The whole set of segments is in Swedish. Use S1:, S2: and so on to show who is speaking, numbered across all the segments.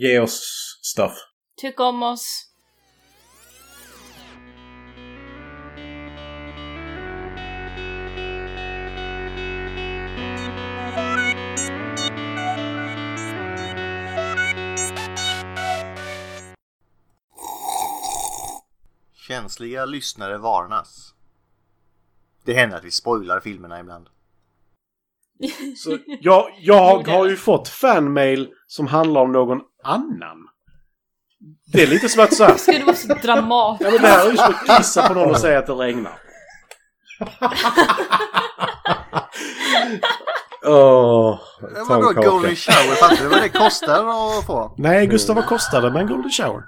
S1: Ge oss stuff.
S2: Tyck om oss.
S3: Känsliga lyssnare varnas. Det händer att vi spoilar filmerna ibland.
S4: Så jag, jag
S2: Jo, det-
S4: har ju fått fanmail som handlar om någon annan. Det är lite som att såhär...
S2: Ska det vara så
S4: Ja,
S2: dramatiskt?
S4: men det här är ju som att pissa på någon och säga att det regnar.
S5: Åh,
S3: Men Eh, Vadå
S5: pannkaka.
S3: golden shower? Fattar du vad det kostar att få?
S6: Nej, Gustav, vad kostade med en golden shower?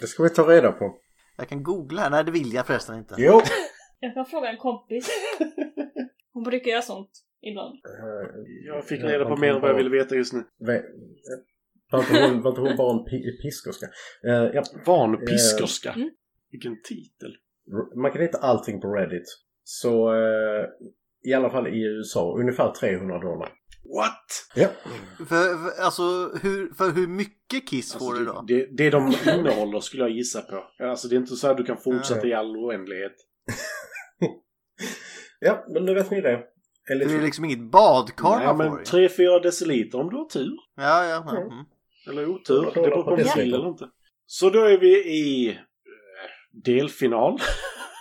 S5: Det ska vi ta reda på.
S3: Jag kan googla. Nej, det vill jag förresten inte.
S5: Jo!
S2: Jag kan fråga en kompis. Hon brukar göra sånt ibland.
S4: Jag fick reda på mer än vad jag ville veta just nu.
S5: veta. Var inte hon, var inte hon bara en pi- piskerska? Eh, ja.
S4: Van piskerska.
S2: Mm.
S4: Vilken titel.
S5: Man kan hitta allting på Reddit. Så eh, i alla fall i USA, ungefär 300 dollar.
S4: What?
S5: Ja.
S3: För, för, alltså, hur, för hur mycket kiss får du då?
S4: Alltså, det, det de innehåller skulle jag gissa på. Alltså det är inte så här du kan fortsätta i all oändlighet.
S5: Ja, men nu vet ni det. Eller,
S3: Det är liksom inget badkar
S4: Nej,
S3: man
S4: men
S3: får i.
S4: 3-4 deciliter om du har tur.
S3: Ja, ja. ja. Mm.
S4: Eller otur.
S5: Jag
S4: Det
S5: kollar
S4: beror på
S5: på
S4: om
S5: det
S4: du vill
S5: sättet.
S4: eller inte. Så då är vi i eh, delfinal.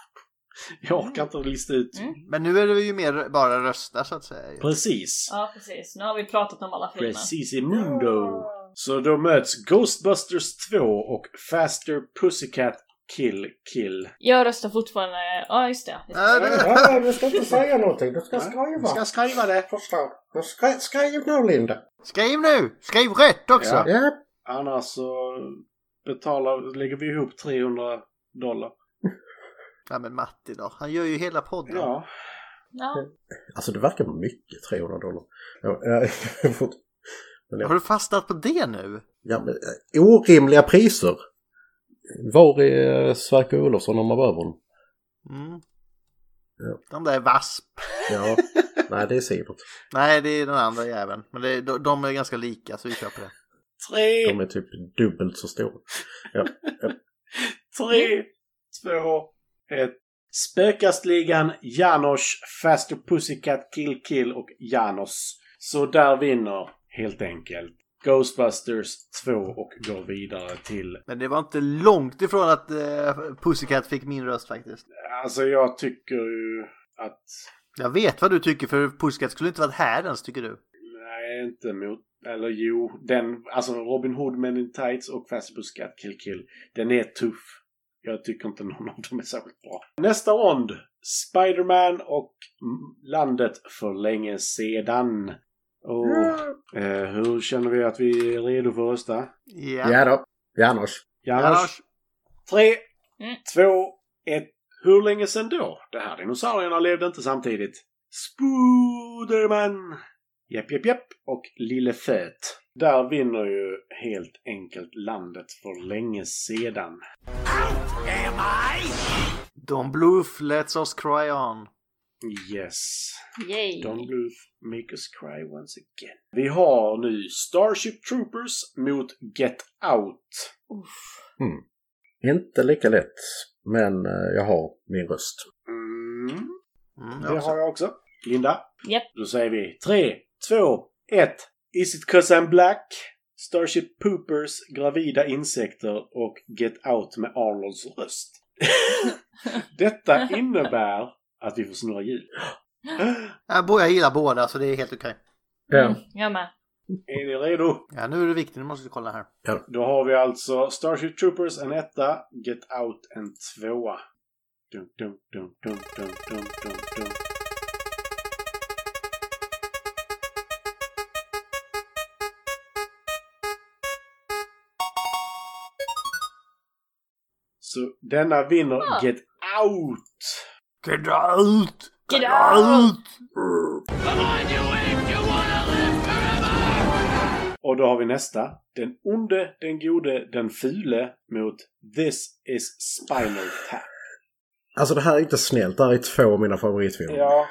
S4: jag orkar inte lista ut.
S2: Mm.
S3: Men nu är det ju mer bara rösta så att säga. ju.
S4: Precis.
S2: Ja, precis. Nu har vi pratat om alla filmer.
S4: Precis i Mundo. Så då möts Ghostbusters 2 och Faster Pussycat Kill Kill.
S2: Jag röstar fortfarande... Ja, just det. Just
S3: Ja,
S2: det.
S3: det-
S5: Ja, du ska inte säga någonting. Du ska skriva.
S4: skriva det.
S5: Förstår. Du ska, skriv nu, Linda.
S3: Skriv nu! Skriv rätt också!
S4: Ja.
S5: Ja.
S4: Annars så betalar, lägger vi ihop 300 dollar.
S3: Nej men Matti då, han gör ju hela podden.
S4: Ja.
S2: Ja.
S5: Alltså, det verkar mycket 300 dollar. Ja, eh, fort-
S3: Har du fastnat på det nu?
S5: ja, men, eh, orimliga priser. Var är eh, Sverker Olofsson om man behöver honom?
S3: Mm.
S5: Ja.
S3: De där är VASP.
S5: Ja, nej det är Sivert.
S3: Nej, det är den andra jäveln. Men det, de, de är ganska lika så vi köper det.
S4: Tre,
S5: De är typ dubbelt så stora.
S4: tre, två, ett. Spökastligan, Janos, Faster Pussycat Kill Kill och Janos. Så där vinner helt enkelt Ghostbusters 2 och går vidare till
S3: Men det var inte långt ifrån att eh, Pussycat fick min röst faktiskt.
S4: Alltså jag tycker ju att...
S3: Jag vet vad du tycker för Pussycat skulle inte varit här ens tycker du.
S4: Nej, inte mot... Eller jo, den... Alltså Robin Hood, Men in Tights och Fast Buscat Kill Kill. Den är tuff. Jag tycker inte någon av dem är särskilt bra. Nästa rond. Spider-Man och m- landet för länge sedan. Och eh, hur känner vi att vi är redo för att rösta?
S3: Ja.
S5: Ja då. Janos.
S4: Janos?
S3: Annars,
S4: Tre,
S2: Mm.
S4: två, ett. Hur länge sedan då? Det här dinosaurierna levde inte samtidigt. Spoderman! Japp, japp, japp. Och Lille Föt. Där vinner ju helt enkelt landet för länge sedan.
S3: Don Bluth lets us cry on.
S4: Yes.
S2: Yay.
S4: Don Bluth, make us cry once again. Vi har nu Starship Troopers mot Get Out.
S2: Uff.
S5: Inte lika lätt, men eh, jag har min röst.
S4: Mm,
S3: Mm,
S4: det
S3: jag
S4: har
S3: också.
S4: jag också. Linda?
S2: Japp.
S4: Då säger vi 3, 2, 1. Is it cause I'm black? Starship Poopers, Gravida Insekter och Get Out med Arnolds röst. Detta innebär att vi får snurra hjul.
S3: Jag, bo- jag gillar båda så det är helt okej.
S2: Mm, jag med.
S4: Är ni redo?
S3: Ja, nu är det viktigt, nu måste vi kolla här.
S4: Då har vi alltså Starship Troopers en etta, Get Out en tvåa. Dum, dum, dum, dum, dum, dum, dum, dum. Så denna vinner
S2: Ah.
S4: Get Out!
S3: Get out!
S2: Get out!
S4: Och då har vi nästa. Den onde, den gode, den fule mot This is Spinal Tap.
S5: Alltså det här är inte snällt, det här är två av mina favoritfilmer.
S4: Ja,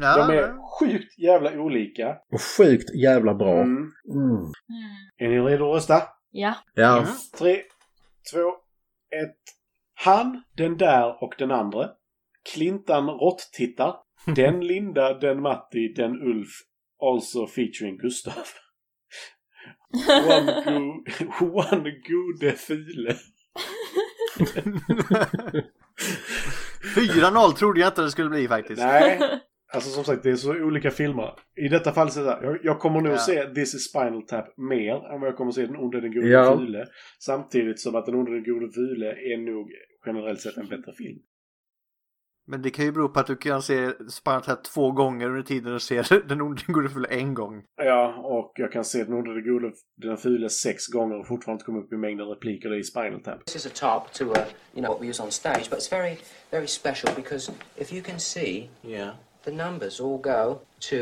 S3: Ja,
S4: de är sjukt jävla olika.
S5: Och sjukt jävla bra.
S4: Mm.
S5: Mm.
S2: Mm.
S4: Är ni redo att rösta?
S2: Ja.
S5: Ja.
S3: Mm.
S4: Tre, två, ett. Han, den där och den andra. Klintan Råttitta. Den Linda, den Matti, den Ulf. Also featuring Gustav. One, go, one gode file.
S3: 4-0 trodde jag inte det skulle bli faktiskt.
S4: Nej, alltså som sagt det är så olika filmer. I detta fallet så är det så här, jag, jag kommer nog
S3: Ja.
S4: se This is Spinal Tap mer än vad jag kommer se Den onde, den gode,
S5: Ja.
S4: den fule. Samtidigt som att Den onde, den gode, fule är nog generellt sett en bättre film.
S3: Men det kan ju bero på att du kan se Spinal Tap två gånger under tiden du ser Den onde gode fulla en gång.
S4: Ja, och jag kan se Den onde, den gode, den fule sex gånger och fortfarande inte komma upp i mängden repliker det är i Spinal Tap.
S1: This is a top to, uh, you know, what we use on stage, but it's very, very special because if you can see,
S4: Yeah.
S1: the numbers all go to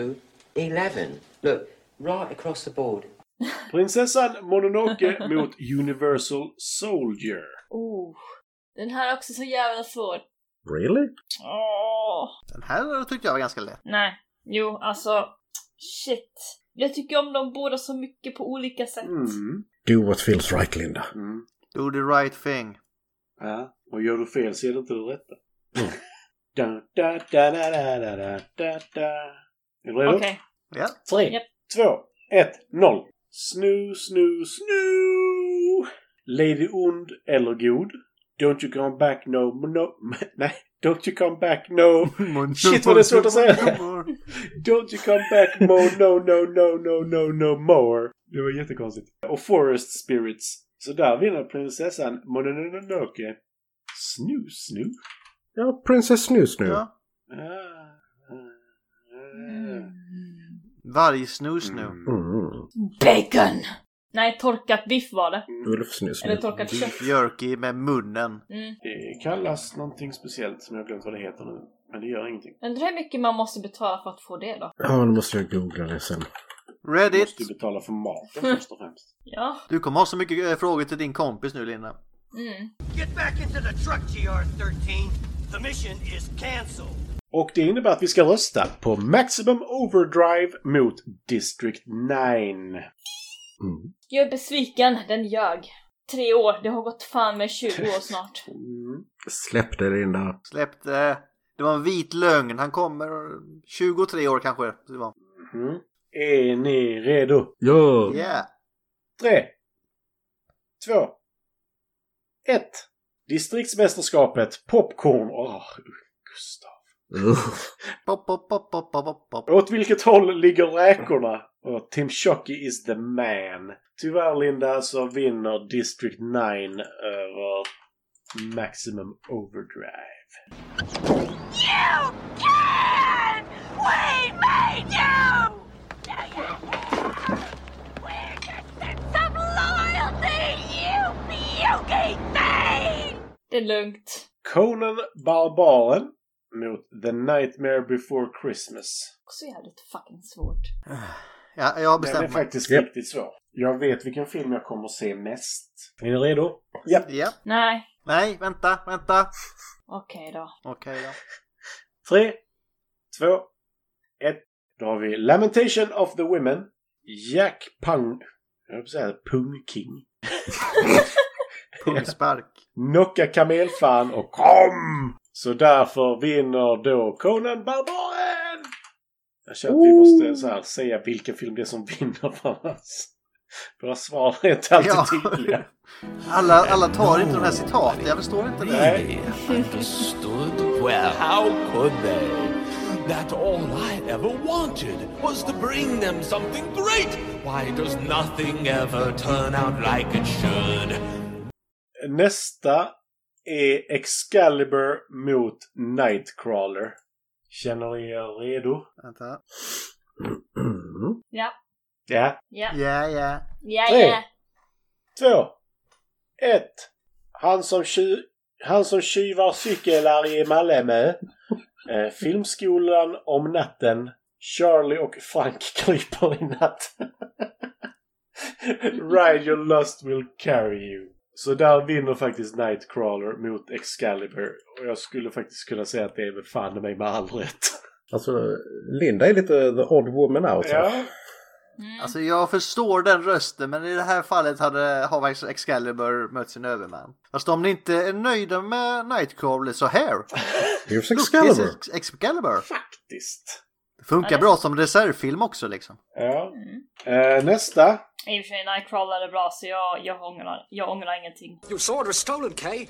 S1: 11. Look, right across the board.
S4: Prinsessan Mononoke mot Universal Soldier.
S2: Oh. Den här är också så jävla svår.
S5: Really?
S2: Åh.
S3: Den här tyckte jag var ganska lätt.
S2: Nej. Jo, alltså. Shit. Jag tycker om dem båda så mycket på olika sätt.
S4: Mm.
S5: Do what feels right, Linda.
S4: mm.
S3: Do the right thing.
S4: Ja, och gör du fel så är det inte det rätta. Da, da, da, da, da, da, da, da, da. Är du redo?
S2: Okej.
S3: Ja.
S4: Tre,
S2: Japp.
S4: två, ett, noll. Snu, snu, snu! Lady ond eller god? Don't you come back no, no, nej, don't you come back no. Shit, vad det är svårt att säga. Don't you come back mo, no, no, no, no, no, no more. Det var jättekonstigt. Och Forest Spirits. Så där vinner prinsessan Mononoke. Snu, snu.
S5: Ja, Princess Snus nu.
S3: Ja.
S4: Ah, ah, ah.
S3: Vargsnus nu.
S5: Mm.
S2: Bacon! Nej, torkat biff var det.
S5: Ulf Snus
S2: Eller
S5: nu.
S2: torkat kött.
S3: Beef jerky med munnen.
S2: Mm.
S4: Det kallas någonting speciellt som jag har glömt vad det heter nu. Men det gör ingenting.
S2: Undrar hur mycket man måste betala för att få det då?
S5: Ja, nu måste jag googla det sen.
S4: Du
S3: Reddit.
S4: måste ju betala för maten först och främst.
S2: Ja.
S3: Du kommer ha så mycket eh, frågor till din kompis nu Linda.
S2: Mm.
S7: Get back into the truck, GR13. The mission is canceled.
S4: Och det innebär att vi ska rösta på Maximum Overdrive mot District 9.
S5: Mm.
S2: Jag är besviken, den ljög. Tre år, det har gått fan med 20 år snart.
S4: Mm.
S5: Släpp det, Linda.
S3: Släppte... Det var en vit lögn. Han kommer eh, 23 år kanske. Det var.
S4: Mhm. Är ni redo?
S5: Ja!
S3: Yeah.
S4: Tre, två, ett. Distriktsmästerskapet Popcorn. Åh, Gustav.
S5: Uff.
S3: Pop, pop, pop, pop, pop, pop, pop.
S4: Åt vilket håll ligger räkorna? Och Tim Shockey is the man. Tyvärr Linda så vinner District 9 över Maximum Overdrive.
S8: You can! We made you! Now you can! Where's your sense of loyalty, you beauty thing?
S2: Det är lugnt.
S4: Conan Barbaren mot The Nightmare Before Christmas.
S2: Också jävligt fucking svårt.
S3: Ja, jag har
S4: Den är
S3: bestämt mig.
S4: faktiskt
S5: Japp.
S4: riktigt svår. Jag vet vilken film jag kommer att se mest. Är ni redo? Japp.
S3: Ja.
S2: Nej.
S3: Nej, vänta, vänta.
S2: Okej då.
S3: Okej då.
S4: Tre, två, ett. Då har vi Lamentation of the Women. Jack Pung... Jag höll på att säga Pung King.
S3: Pungspark.
S4: Knocka kamelfan och kom! Så därför vinner då Conan Barbaren! Jag känner att vi måste så här säga vilken film det är som vinner för oss. Våra svar är inte alltid
S3: Ja.
S4: tydliga.
S3: Alla, alla tar inte de här citaten. Jag förstår inte det.
S4: Nej.
S9: understood? Well, how could they? That all I ever wanted was to bring them something great. Why does nothing ever turn out like it should?
S4: Nästa är Excalibur mot Nightcrawler. Känner ni er redo?
S3: Vänta.
S5: Mm.
S2: Ja.
S4: Ja.
S2: Ja.
S3: Ja, ja.
S2: Ja,
S4: Tre.
S2: ja.
S4: Två. Ett. Han som, tju- han som tjuvar cyklar i Malmö. Eh, filmskolan om natten. Charlie och Frank kryper i natten. Ride your lust will carry you. Så där vinner faktiskt Nightcrawler mot Excalibur. Och jag skulle faktiskt kunna säga att det är med fan i mig med all rätt.
S5: Alltså, Linda är lite the odd woman out. här.
S4: Ja.
S3: Alltså jag förstår den rösten men i det här fallet hade Havax Excalibur mött sin överman. Fast om ni inte är nöjda med Nightcrawler så här!
S5: Here's
S3: Look,
S5: Excalibur!
S3: this is Excalibur!
S4: Faktiskt.
S3: Det funkar bra som reservfilm också liksom.
S4: Ja. Eh, nästa.
S2: I och för sig Nightcrawler är bra så jag, jag, ångrar, jag ångrar ingenting.
S7: Your sword was stolen, Kay.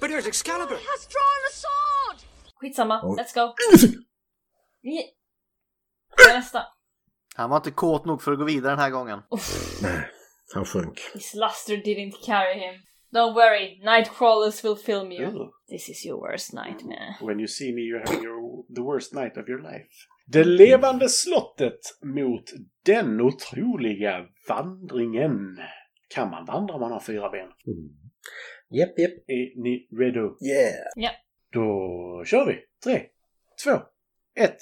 S7: But here's Excalibur.
S8: Has drawn a sword!
S2: Skitsamma,
S5: Oj.
S2: let's go! Vi- Vi är Nästa!
S3: Han var inte kåt nog för att gå vidare den här gången.
S5: Han sjönk.
S2: His luster didn't carry him. Don't worry, Nightcrawlers will film you.
S4: Ooh.
S2: This is your worst nightmare.
S4: When you see me you have your, the worst night of your life. Det levande slottet mot den otroliga vandringen. Kan man vandra om man har fyra ben?
S5: Japp, japp.
S4: Är ni redo?
S5: Yeah!
S4: Då kör vi! Tre, två, ett.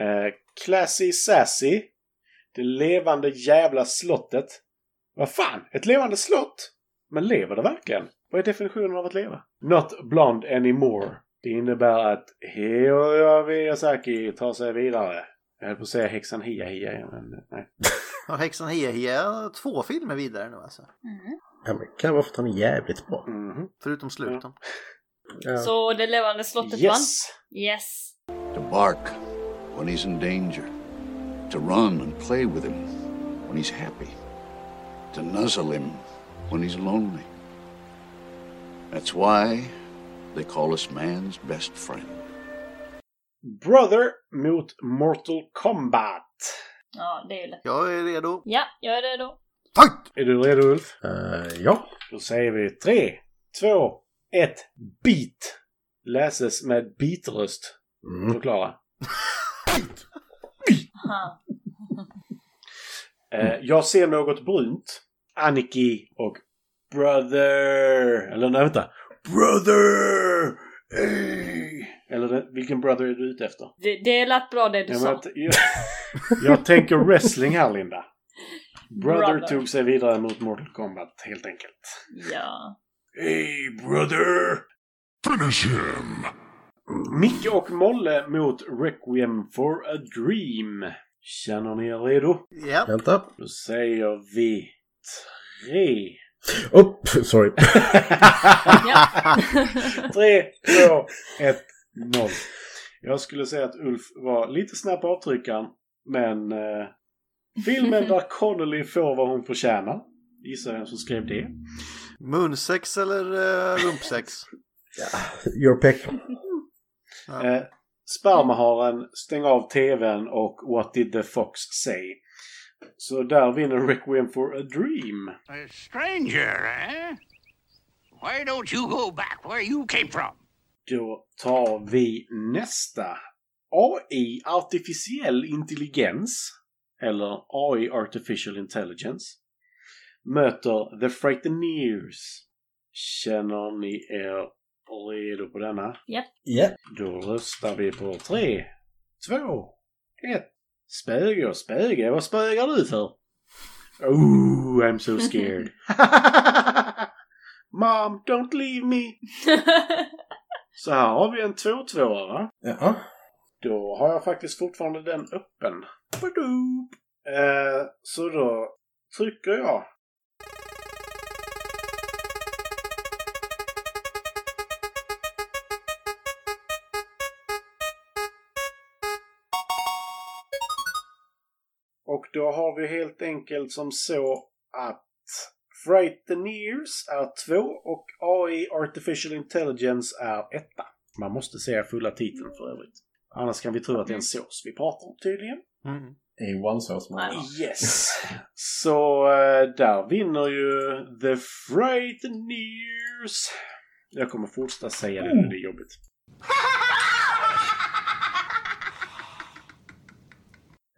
S4: Eh, classy Sassy. Det levande jävla slottet. Vad fan, ett levande slott? Men lever det verkligen? Vad är definitionen av att leva? Not blonde anymore. Det innebär att Hiroya Miyazaki tar sig vidare. Jag höll på att säga häxan Hia Hia, igen, men nej.
S3: Har häxan Hia Hia två filmer vidare nu alltså?
S5: Ja, men kan vara för att han är jävligt bra.
S4: Mhm.
S3: Förutom sluten.
S5: Ja.
S2: Så det levande slottet vann?
S4: Yes!
S2: Yes.
S10: To bark when he's in danger. To run and play with him when he's happy. To nuzzle him when he's lonely. That's why they call us man's best friend.
S4: Brother mot Mortal Kombat.
S2: Ja, det är ju lätt.
S3: Jag är redo.
S2: Ja, jag är redo.
S3: Fight!
S4: Är du redo Ulf?
S5: Eh, ja.
S4: Då säger vi tre, två, ett, beat. Läses med bitröst.
S5: Mm.
S4: Förklara.
S2: Aha.
S4: Eh, jag ser något brunt. Aniki och brother. Eller nej, vänta. Brother! Ey! Eller den- vilken brother är du ute efter?
S2: Det, det lät bra det du
S4: Jag,
S2: sa.
S4: vet- jag, jag tänker wrestling här Linda. Brother,
S2: Brother.
S4: tog sig vidare mot Mortal Kombat helt enkelt.
S2: Ja.
S4: Hey brother!
S9: Finish him!
S4: Micke och Molle mot Requiem for a Dream. Känner ni er redo?
S3: Ja.
S5: Vänta.
S4: Då säger vi tre.
S5: Upp! Sorry.
S2: ja.
S4: tre, två, ett, noll. Jag skulle säga att Ulf var lite snabb på avtryckaren, men eh, filmen där Connolly får vad hon förtjänar. Gissa vem som skrev det?
S3: Munsex eller eh, rumpsex?
S5: Your peck.
S3: Ja.
S4: Eh, spermaharen, stäng av tvn och What did the fox say? Så där vinner Requiem for a Dream.
S10: A stranger, eh? Why don't you go back where you came from?
S4: Då tar vi nästa. AI, artificiell intelligens, eller AI, artificial intelligence, möter The Frighteneers. Känner ni er redo på denna?
S5: Ja.
S4: Då röstar vi på tre, två, ett. Spöge och spöge, vad spögar du för? Oh, I'm so scared. Mom, don't leave me. Så här har vi en 2-2 va?
S5: Ja.
S4: Då har jag faktiskt fortfarande den öppen. Badoop. Eh, så då trycker jag. Och då har vi helt enkelt som så att Frighteneers är två och AI Artificial Intelligence är etta. Man måste säga fulla titeln för övrigt. Annars kan vi tro att det är en sås vi pratar om tydligen.
S3: Mm.
S5: I one source man.
S4: Yes! Så eh, där vinner ju The Frighteneers. Jag kommer fortsätta säga det när det är jobbigt.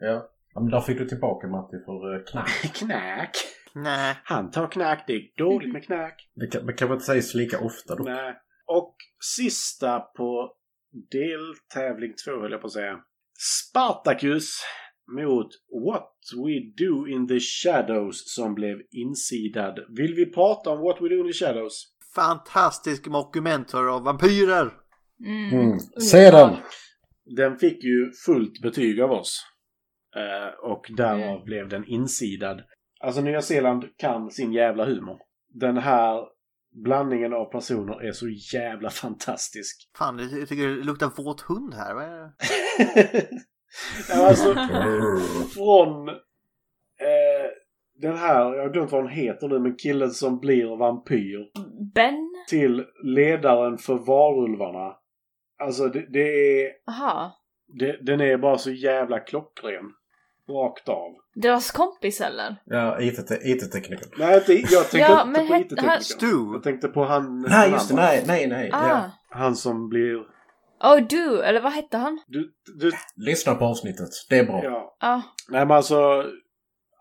S5: Ja. Ja, men där fick du tillbaka Matti för eh, knack.
S4: Knack!
S3: Nej.
S4: Han tar knack, det är dåligt med knack.
S5: Det kan, man kan väl inte säga så lika ofta då.
S4: Nej. Och sista på deltävling två höll jag på att säga. Spartacus mot What We Do In The Shadows som blev insidad. Vill vi prata om What We Do In The Shadows?
S3: Fantastisk mockumentary av vampyrer!
S2: Mm.
S5: Mm. Se den!
S4: Den fick ju fullt betyg av oss. Eh, och därav blev den insidad. Alltså Nya Zeeland kan sin jävla humor. Den här blandningen av personer är så jävla fantastisk.
S3: Fan, jag ty- jag tycker det luktar våt hund här. Vad är det?
S4: Ja, alltså,
S5: Mm.
S4: från eh, den här, jag har glömt vad han heter nu, men killen som blir vampyr.
S2: Ben?
S4: Till ledaren för varulvarna. Alltså det, det är,
S2: Aha.
S4: det, den är bara så jävla klockren. Rakt av.
S2: Deras kompis eller?
S5: Ja, IT-te- IT-tekniker.
S4: Nej, inte, jag tänkte
S2: Ja,
S4: inte
S2: men
S4: på
S2: he-
S4: IT-teknikern.
S2: he-
S3: Stu.
S4: Jag tänkte på han...
S5: Nej,
S4: han
S5: just det.
S4: andra.
S5: Nej, nej, nej.
S2: Ah.
S5: Ja.
S4: Han som blir...
S2: Oh du, eller vad hette han? Ah.
S4: Du, du,
S5: Lyssna på avsnittet. Det är bra.
S4: ja.
S2: Ja.
S4: Nej men alltså,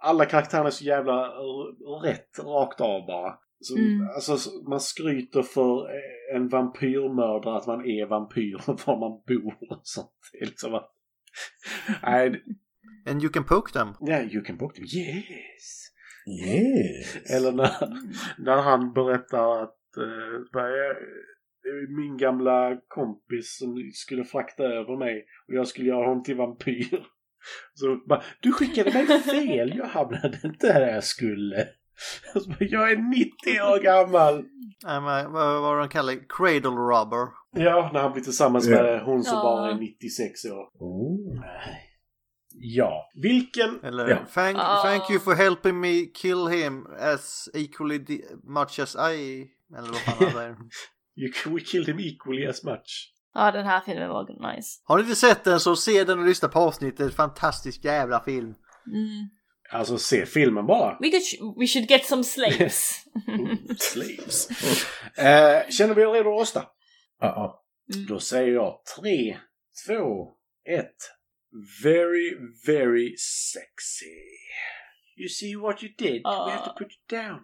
S4: alla karaktärer är så jävla r- rätt rakt av bara. Så,
S2: Mm.
S4: Alltså så- man skryter för eh, en vampyrmördare att man är vampyr och var man bor och sånt. Det är liksom bara... Nej, det-
S3: And you can poke them.
S4: nej, you can book them, yes!
S5: Yes.
S4: Eller när, Mm. när han berättar att eh, bara, eh, det är min gamla kompis som skulle frakta över mig och jag skulle göra honom till vampyr. Så bara, du skickade mig fel, jag hamnade inte där jag skulle. Och så bara, Jag är 90 år gammal!
S3: Nej, men vad vad de kallar det? Cradle rubber.
S4: Ja, när han blir tillsammans
S5: Ja.
S4: med hon som
S2: Ja.
S4: bara är 96 år.
S5: Oh.
S4: Ja. Vilken...
S3: Eller
S5: Ja.
S3: thank,
S2: Ah.
S3: thank you for helping me kill him as equally di- much as I... Eller vad fan han säger.
S4: You, we killed him equally as much.
S2: Ja, den här filmen var nice.
S3: Har ni inte sett den så se den och lyssna på avsnittet. Fantastisk jävla film.
S2: Mm.
S4: Alltså, se filmen bara.
S2: We, could, we should get some slaves.
S4: Slaves. Eh, känner vi er redo att rösta? Mm.
S5: Ah, ah.
S4: Då säger jag tre, två, ett. Very, very sexy. You see what you did? We have to put you down.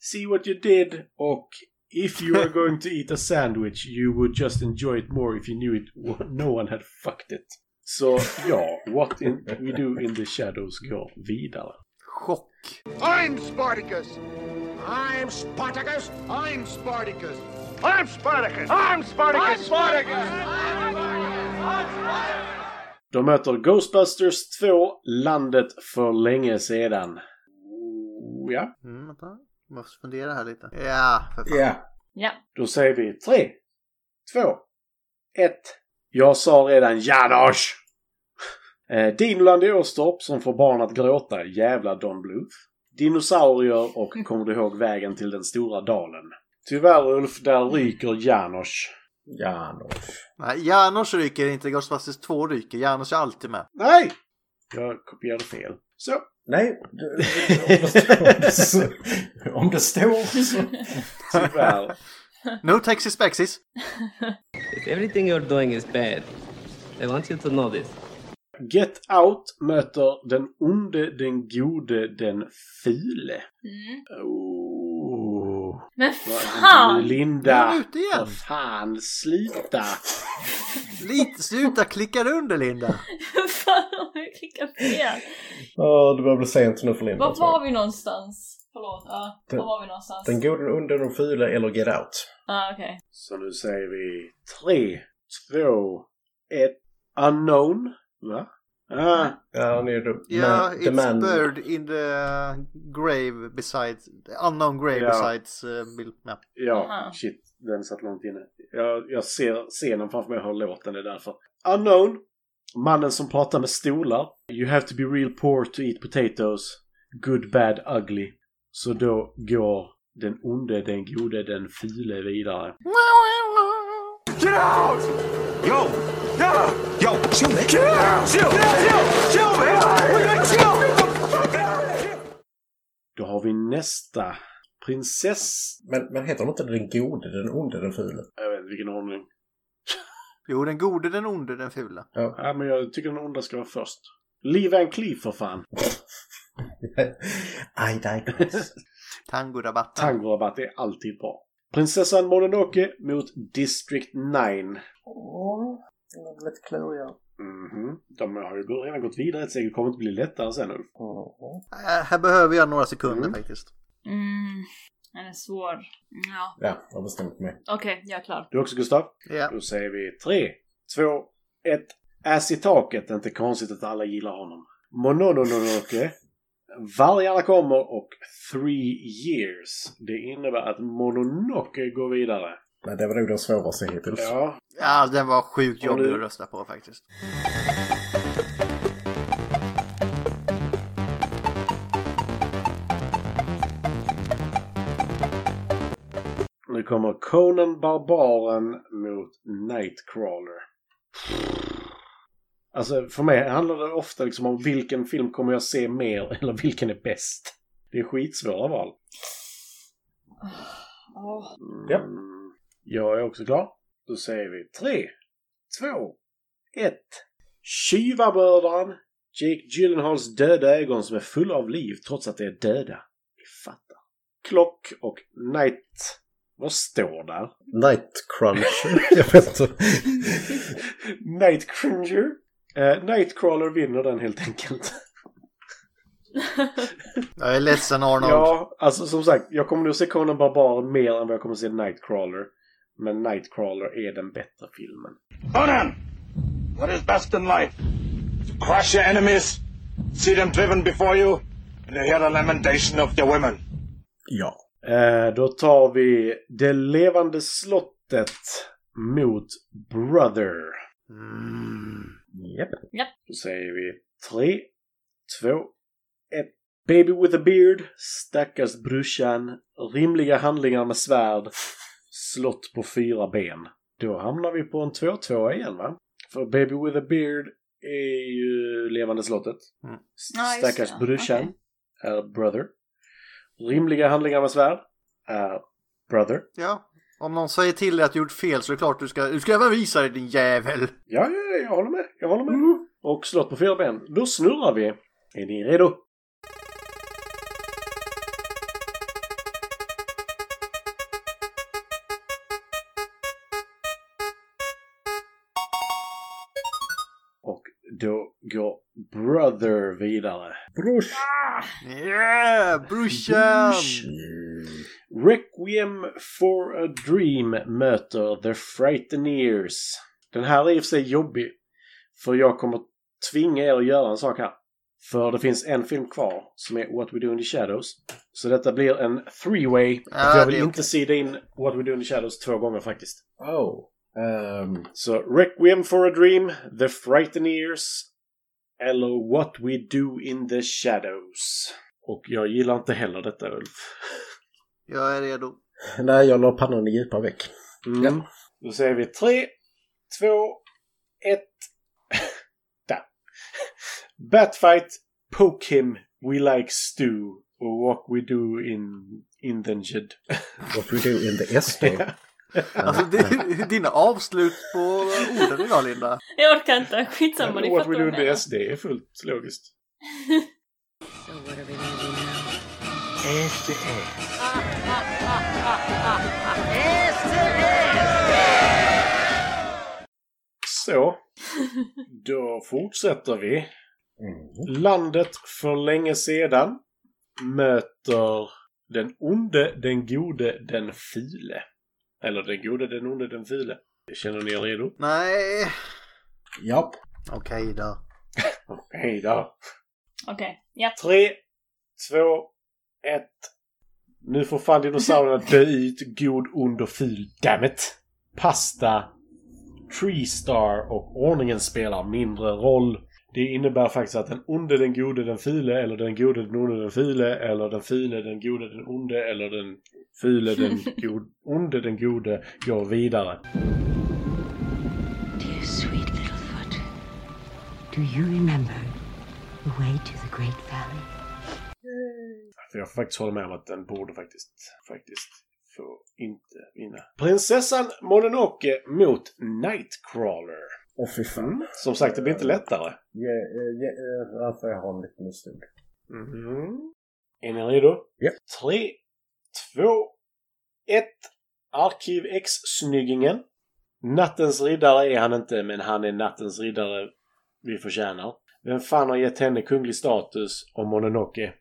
S4: See what you did och if you are going to eat a sandwich you would just enjoy it more if you knew it no one had fucked it. Så ja, what in, we do in the shadows går vidare.
S3: Chock.
S7: I'm Spartacus. I'm Spartacus. I'm Spartacus. I'm Spartacus. I'm Spartacus. I'm Spartacus. I'm Spartacus.
S4: De möter Ghostbusters 2, Landet för länge sedan. Oh, Ja.
S3: Mm, vänta. Måste fundera här lite. Ja, för fan.
S5: Ja.
S2: ja.
S4: Då säger vi tre, två, ett. Jag sa redan Janosch! Eh, Dinoland i Åstorp som får barn att gråta. Jävla Don Bluth. Dinosaurier och kommer du ihåg vägen till den stora dalen? Tyvärr Ulf, där ryker Janosch.
S5: Ja, då.
S3: Nej, Janos ryker inte. Ghostbusters 2 ryker. Janos är alltid med.
S4: Nej! Jag kopierade fel. Så,
S5: Nej. det- Om det står så. Om det står så.
S4: tyvärr.
S3: No Texas Bexis.
S11: If everything you're doing is bad, I want you to know this.
S4: Get Out möter den onde, den gode, den fule.
S2: Mm.
S4: Oh.
S2: Men
S4: Vad-
S2: fan!
S3: Nu är
S4: Linda!
S3: den ute igen.
S4: Vad fan, sluta!
S3: Lite sluta klicka under Linda.
S2: fan om jag klickar fel.
S5: Oh, det börjar bli sent nu för Linda.
S2: Var var vi någonstans? Förlåt, ja. Var var vi någonstans?
S5: Den gode, den onde, den fula eller Get Out?
S2: Ja, okej.
S4: Så nu säger vi tre, två, ett. Unknown. Va? Ah,
S5: Ja, han är ju the,
S3: Ja,
S5: man, the
S3: it's
S5: man.
S3: bird in the grave besides... Unknown grave
S4: Ja.
S3: besides... Uh, Bill. Ja.
S4: ja,
S2: Aha.
S4: shit. Den satt långt inne. Jag, jag ser scenen framför mig och hör låten, det är därför. Unknown. Mannen som pratar med stolar. You have to be real poor to eat potatoes. Good, bad, ugly. Så då går den onde, den gode, den file vidare.
S7: Get out! Yo! Yeah! Yo! Chill, man! Get out! Chill! Chill! Chill, man! We gotta chill!
S4: Då har vi nästa. Prinsess...
S5: Men, men heter de inte den gode, den onde, den fula?
S4: Jag vet inte vilken ordning.
S3: Jo, den gode, den onde, den fula.
S4: Ja, men jag tycker den onda ska vara först. Lee Van Cleef för fan.
S5: I digress.
S3: Tangorabatten.
S4: Tangorabatt är alltid bra. Prinsessan Mononoke mot District 9.
S5: Åh, de är lite kluriga.
S4: Mhm. De har ju redan gått vidare ett steg. Det kommer inte bli lättare sen Ulf.
S5: Åh.
S3: Äh, här behöver jag några sekunder
S4: Mm.
S3: faktiskt.
S2: Mm. Den är svår. Ja.
S5: Ja, jag har bestämt mig.
S2: Okej, jag är klar.
S4: Du också Gustav?
S3: Ja.
S4: Då säger vi 3, 2, 1. Ass i taket. Det är inte konstigt att alla gillar honom. Monononoke. Vargarna kommer och Three Years. Det innebär att Mononoke går vidare.
S5: Nej, det var nog den svåraste hittills.
S4: Ja.
S3: Ja, alltså, den var sjukt
S4: Om
S3: jobbig
S4: du-
S3: att rösta på faktiskt.
S4: Nu kommer Conan Barbaren mot Nightcrawler. Alltså för mig handlar det ofta liksom om vilken film kommer jag se mer eller vilken är bäst. Det är skitsvåra val.
S2: Ja.
S5: Ja.
S4: Mm. Jag är också klar. Då säger vi tre, två, ett. Tjuvamördaren Jake Gyllenhaals döda ögon som är fulla av liv trots att de är döda. Vi fattar. Klock och Night... Vad står där?
S5: Night Crunch. jag vet inte.
S4: Night Cringer. Eh, Nightcrawler vinner den helt enkelt.
S3: Jag är ledsen Arnold.
S4: Ja, alltså som sagt, jag kommer nog se Conan Barbaren mer än vad jag kommer se Nightcrawler. Men Nightcrawler är den bättre filmen.
S7: Conan, what is best in life? To crush your enemies, see them driven before you, and to hear the lamentation of your women.
S5: Ja.
S4: Eh, då tar vi Det levande slottet mot Brother.
S3: Mm.
S5: Japp.
S2: Japp.
S4: Då säger vi tre, två, ett. Baby with a beard, stackars brorsan, rimliga handlingar med svärd, slott på fyra ben. Då hamnar vi på en 2-2 igen va? För Baby with a beard är ju Levande slottet.
S3: Mm.
S2: Ja, just
S4: Stackars
S2: det.
S4: brorsan
S2: Okej.
S4: är Brother. Rimliga handlingar med svärd är Brother.
S3: Ja. Om någon säger till dig att du gjort fel så är det klart du ska... Du ska även visa dig din jävel!
S4: Ja, ja, ja, jag håller med. Jag håller med. Mm. Och slott på fyra ben. Då snurrar vi. Är ni redo? Och då går Brother vidare.
S5: Brush.
S2: Ah,
S3: Yeah! Brorsan!
S4: Requiem for a Dream möter The Frighteneers. Den här är i och för sig jobbig. För jag kommer tvinga er att göra en sak här. För det finns en film kvar som är What We Do In The Shadows. Så detta blir en three-way.
S3: Ja,
S4: jag vill
S3: det är
S4: inte sida in What We Do In The Shadows två gånger faktiskt.
S5: Oh. Ehm,
S4: Så Requiem for a Dream, The Frighteneers eller What We Do In The Shadows. Och jag gillar inte heller detta Ulf.
S3: Jag är redo.
S5: nej, jag la pannan i djupa veck.
S4: Mm. Då säger vi tre, två, ett. Där. Batfight, Poke Him, We Like Stew och What We Do In Indented.
S5: What we do in the Mm. SD.
S3: Alltså det, dina avslut på orden idag Linda.
S2: Jag orkar inte. Skitsamma, ni
S4: What
S2: fattar
S4: We
S2: vad
S4: Do
S2: jag
S4: In
S2: menar.
S4: The SD är fullt logiskt.
S8: So what are we gonna do now?
S4: Så. Då fortsätter vi. Landet för länge sedan möter den onde, den gode, den file. Eller den gode, den onde, den file. Känner ni er redo?
S3: Nej.
S5: Japp.
S3: Okej då.
S4: Okej då.
S2: Okej, ja.
S4: Tre, två, ett. Nu får fan dinosaurierna dö ut, god, ond och ful. Damn it! Pasta, Tree Star och ordningen spelar mindre roll. Det innebär faktiskt att den onde, den gode, den file eller den gode, den onde, den file eller den file, den gode, den onde eller den file, den god, onde, den gode går vidare.
S8: Dear sweet little foot, do you remember the way to the Great Valley?
S4: För jag får faktiskt hålla med om att den borde faktiskt, faktiskt få inte vinna. Prinsessan Mononoke mot Nightcrawler.
S5: Åh fy fan.
S4: Som sagt, det blir inte lättare.
S5: Ja, eh, ja, eh, Varför jag har en liten missnöjd.
S4: Mhm. Är ni redo?
S5: Ja.
S4: Tre, två, ett. Arkiv X-snyggingen. Nattens riddare är han inte, men han är nattens riddare vi förtjänar. Vem fan har gett henne kunglig status och Mononoke?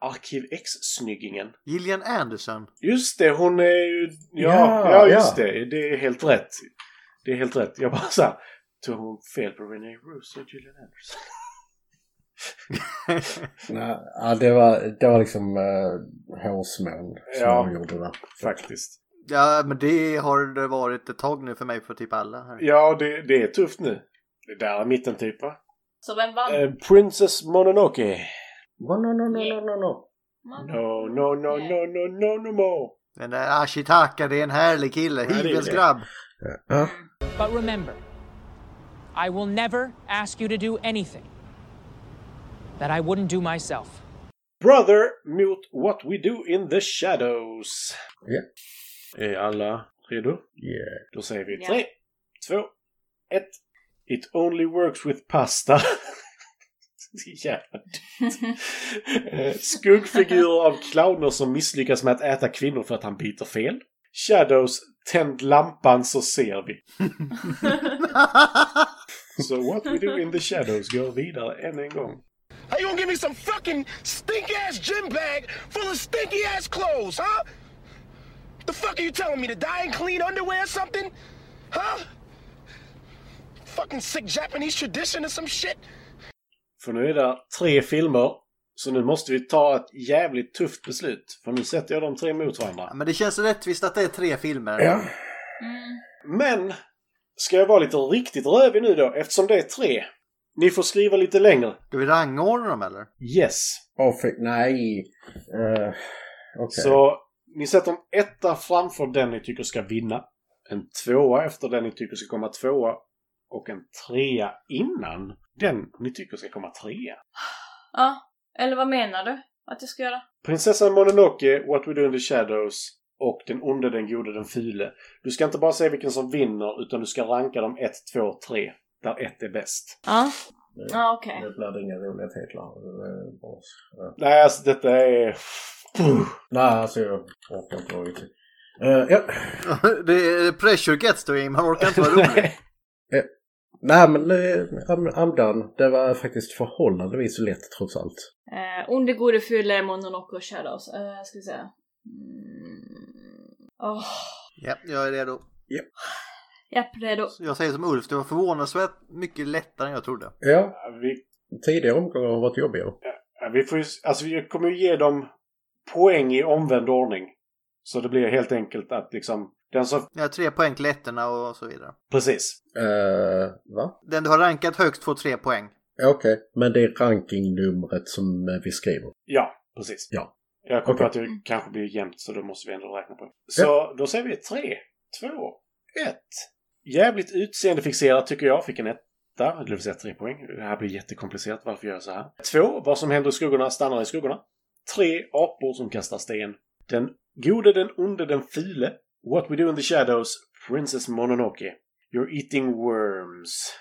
S4: Arkiv X-snyggingen.
S3: Gillian Anderson.
S4: Just det, hon är ju... Ja, ja,
S5: Ja,
S4: just
S5: ja.
S4: det. Det är helt rätt. Det är helt rätt. Jag bara såhär... Tog hon fel på René Russo och Julian Anderson?
S5: Nej, ja, det, var, det var liksom uh, hårsmån som
S3: Ja.
S5: de gjorde där.
S4: Faktiskt.
S3: Ja, men det har det varit ett tag nu för mig på typ alla. Här.
S4: Ja, det, det är tufft nu. Det där är mitten typ va?
S2: Så vem vann?
S4: Eh, Princess Mononoke.
S5: No, no, no, no, no, no.
S4: No, no, no, no, no, no, no more.
S3: Den där Ashitaka, det är en härlig kille.
S4: Ja, det är det.
S3: Hivelsgrabb.
S5: Ja.
S12: But remember, I will never ask you to do anything that I wouldn't do myself.
S4: Brother mot What We Do In The Shadows.
S5: Ja.
S4: Är alla redo?
S5: Yeah.
S4: Då säger vi
S2: Ja.
S4: tre, två, ett. It only works with pasta. Det är Jävla dumt. Eh, Skuggfigurer av clowner som misslyckas med att äta kvinnor för att han biter fel. Shadows, tänd lampan så ser vi. so what we do in the shadows går vidare än en gång.
S7: How you gonna give me some fucking stink ass gym bag full of stinky ass clothes, huh? The fuck are you telling me to die in clean underwear or something? Huh? Fucking sick Japanese tradition or some shit?
S4: För nu är det tre filmer. Så nu måste vi ta ett jävligt tufft beslut. För nu sätter jag de tre mot varandra.
S3: Men det känns rättvist att det är tre filmer.
S4: Men! Ska jag vara lite riktigt rövig nu då? Eftersom det är tre. Ni får skriva lite längre.
S3: Ska vi rangordna dem eller?
S4: Yes.
S5: Oh, för, nej. Uh, Okej.
S4: Så ni sätter en etta framför den ni tycker ska vinna. En tvåa efter den ni tycker ska komma tvåa. Och en trea innan den ni tycker ska komma trea.
S2: Ja, eller vad menar du att jag ska göra?
S4: Prinsessan Mononoke, What We Do In The Shadows och Den onde, den gode, den fule. Du ska inte bara säga vilken som vinner utan du ska ranka dem 1, 2, 3. Där 1 är bäst.
S2: Ja.
S5: Nu-
S2: Ja, okej.
S5: Nu blir det inga roliga titlar. Det är bara så- ja.
S4: Nej, alltså detta är...
S5: Nej, alltså jag orkar inte vara riktigt. Eh, ja.
S3: det är pressure gets to him. Han orkar inte vara rolig.
S5: Eh, Nej men eh, I'm, I'm done. Det var faktiskt förhållandevis lätt trots allt.
S2: Eh, onde, gode, fule, Mononoke och Shadows. Eh, ska vi se. Mm. Åh,
S3: ja, jag är redo.
S2: Japp, redo.
S3: Jag säger som Ulf, det var förvånansvärt mycket lättare än jag trodde.
S5: Ja.
S4: Vi,
S5: Tidigare omgångar har varit jobbiga.
S4: ja, vi får ju... Alltså vi kommer ju ge dem poäng i omvänd ordning. Så det blir helt enkelt att liksom... Den som...
S3: Jag har tre poäng till ettorna och så vidare.
S4: Precis.
S5: Uh, va?
S3: Den du har rankat högst får tre poäng.
S5: Ja, Okej, men det är rankingnumret som eh, vi skriver.
S4: Ja, precis.
S5: Ja.
S4: Jag kom på
S5: Okej.
S4: att det kanske blir jämnt så då måste vi ändå räkna på det. Så då säger vi 3, 2, 1. Jävligt utseendefixerat tycker jag. Fick en etta. Det vill säga 3 poäng. Det här blir jättekomplicerat. Varför gör jag så här? 2. Vad som händer i skuggorna stannar i skuggorna. 3. Apor som kastar sten. Den gode, den onde, den file. What we do in the shadows. Princess Mononoke. You're eating worms.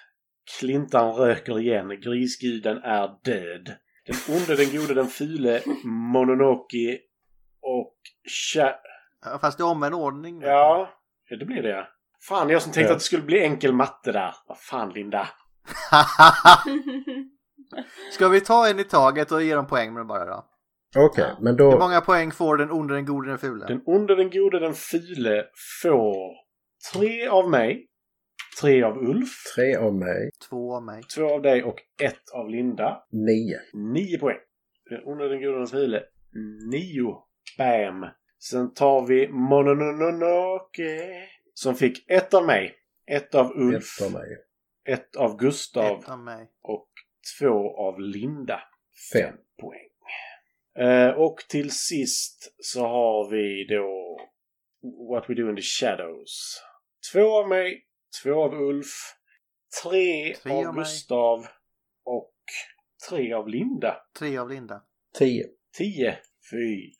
S4: Klintan röker igen. Grisguden är död. Den onde, den gode, den file. Mononoke. Och... Sha-
S3: Ja, Fast det är omvänd ordning.
S4: Ja, det blir det ja. Fan, jag som tänkte att det skulle bli enkel matte där. Vad fan, Linda.
S3: Ska vi ta en i taget och ge dem poäng med det bara då?
S5: Okej, men
S3: Hur
S5: då...
S3: många poäng får den onde, den gode, den fule?
S4: Den onde, den gode, den file får tre av mig, tre av Ulf,
S5: Tre av mig.
S3: Två av mig.
S4: två av dig och ett av Linda.
S5: Nio.
S4: Nio poäng. Den onde, den gode, den file. Nio. Bam. Sen tar vi Monononoke. Som fick ett av mig, ett av Ulf,
S5: Ett av mig.
S4: ett av Gustav
S3: Ett av mig.
S4: och två av Linda.
S5: Fem.
S4: poäng. Eh, och till sist så har vi då What We Do In The Shadows. Två av mig, två av Ulf, tre,
S3: Tre
S4: av,
S3: av mig.
S4: Gustav och tre av Linda.
S3: Tre av Linda.
S5: Tio.
S4: Tio. Fy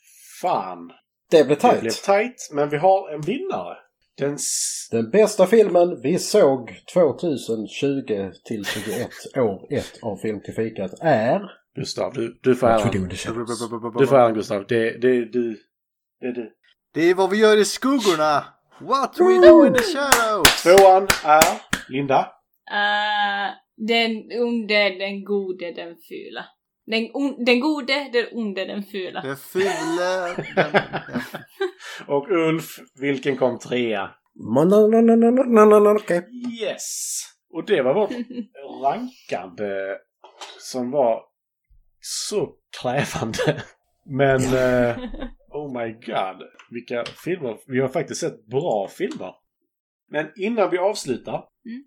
S4: fan.
S5: Det blev
S4: Det blev
S5: tajt.
S4: tajt, men vi har en vinnare. Den s-
S5: Den bästa filmen vi såg 2020 till 21 år 1 av Film till fikat är...
S4: Gustav, du, du får äran. Du får äran Gustav. Det, det, du. Det är du.
S3: Det är vad vi gör i skuggorna! What we do in the shadows!
S4: Tvåan är Linda.
S2: Eh, den onde, den gode, den fula. Den, on- den gode, den onde, den fula.
S3: Den fule... Den... ja.
S4: Och Ulf, vilken kom trea?
S5: Okej.
S4: Yes! Och det var vårt rankande som var så krävande. Men, eh, oh my god. Vilka filmer. Vi har faktiskt sett bra filmer. Men innan vi avslutar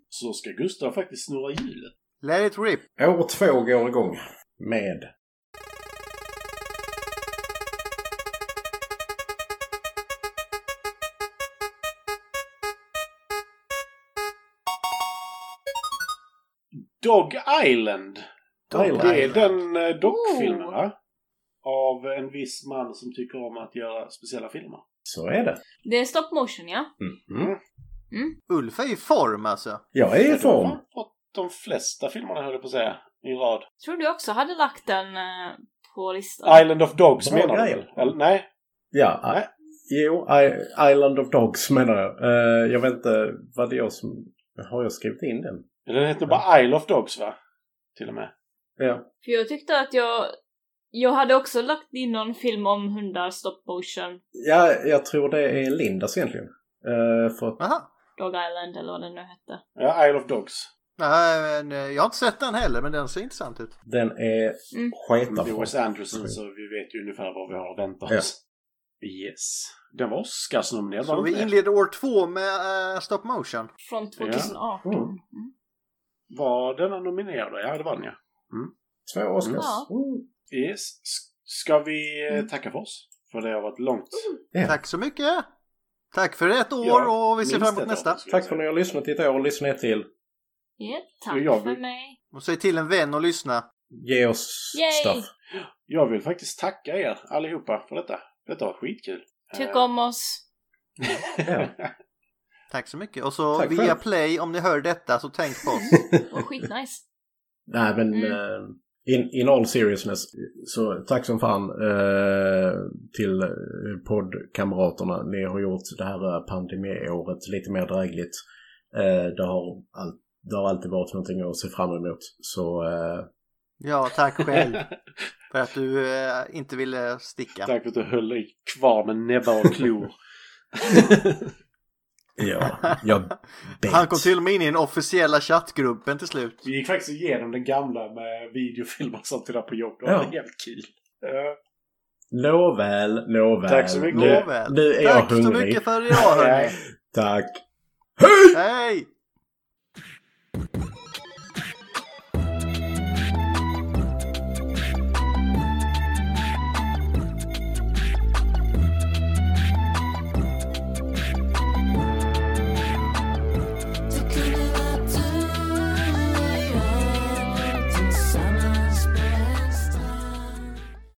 S4: så ska Gustav faktiskt snurra hjulet.
S3: Let it rip!
S5: År två går igång med
S4: Dog Island.
S5: Dog
S4: det är
S5: Island.
S4: den eh, dockfilmen va? Av en viss man som tycker om att göra speciella filmer.
S5: Så är det.
S2: Det är stop motion, ja. Mm.
S3: Ulf är i form alltså.
S5: Jag är i form.
S4: De flesta filmerna höll jag på att säga. I rad.
S2: Tror du också hade lagt den eh, på listan?
S4: Island of Dogs
S5: Bra
S4: menar du?
S5: grejer.
S4: väl? Eller, nej?
S5: Ja, I, jo, I, Island of Dogs menar jag. Eh, jag vet inte vad det är jag som... Har jag skrivit in den?
S4: Den heter bara Isle of Dogs va? Till och med.
S5: Ja.
S2: För jag tyckte att jag... Jag hade också lagt in någon film om hundar, stop motion,
S5: ja, jag tror det är Lindas egentligen. Eh, för att,
S3: Aha.
S2: Dog Island eller vad den nu hette.
S4: Ja, Isle of Dogs.
S3: Nej, men eh, jag har inte sett den heller, men den ser intressant ut.
S5: den är
S2: Mm.
S5: sketa
S4: Det är
S5: bra.
S4: Wes Anderson så vi vet ju ungefär vad vi har att vänta
S5: Ja.
S4: oss. Yes. Den var Oscarsnominerad
S3: Så
S4: var den
S3: vi
S4: inte det?
S3: inleder år två med eh, stop motion.
S2: Från 2018.
S5: Mm.
S4: Var den nominerad? Ja, det var den ja.
S5: Två Oscars. Mm.
S2: Ja.
S4: Yes. S- Ska vi eh,
S3: Mm.
S4: tacka för oss? För det har varit långt.
S5: Ja.
S3: Tack så mycket! Tack för ett år
S4: Ja,
S3: Mm. och vi ser
S4: minst
S3: fram emot
S4: ett
S3: nästa.
S4: år, skulle jag
S5: Tack för att ni har lyssnat i ett år och lyssnat till.
S2: Ja, tack
S4: Och jag
S2: för
S4: vill-
S2: mig.
S3: Och säg till en vän att lyssna.
S5: Ge oss
S2: Yay!
S5: stuff.
S4: Jag vill faktiskt tacka er allihopa för detta. Detta var skitkul.
S2: Tyck
S4: Eh,
S2: om oss.
S5: Ja.
S3: Tack så mycket. Och så
S5: Tack
S3: via
S5: själv.
S3: play, om ni hör detta så tänk på oss.
S2: Och skitnice.
S5: Nej men
S2: Mm.
S5: eh, in, in all seriousness så tack som fan eh, till eh, poddkamraterna. Ni har gjort det här eh, pandemiåret lite mer drägligt. Eh, det, har all, det har alltid varit någonting att se fram emot. Så eh,
S3: Ja, tack själv för att du eh, inte ville sticka.
S4: Tack för att du höll dig kvar med näbbar och klor.
S5: ja, jag bet.
S3: Han kom till och med in i den officiella chattgruppen till slut.
S4: Vi gick faktiskt igenom den gamla med videofilmer och sånt där på jobb. Det var
S5: Ja.
S4: helt kul. Eh,
S5: Nåväl, nåväl.
S4: Tack så mycket.
S5: Nu,
S3: Nåväl.
S5: nu är jag
S3: Tack så
S4: eh,
S5: hungrig.
S3: mycket för idag hörni.
S5: Tack.
S3: Hej!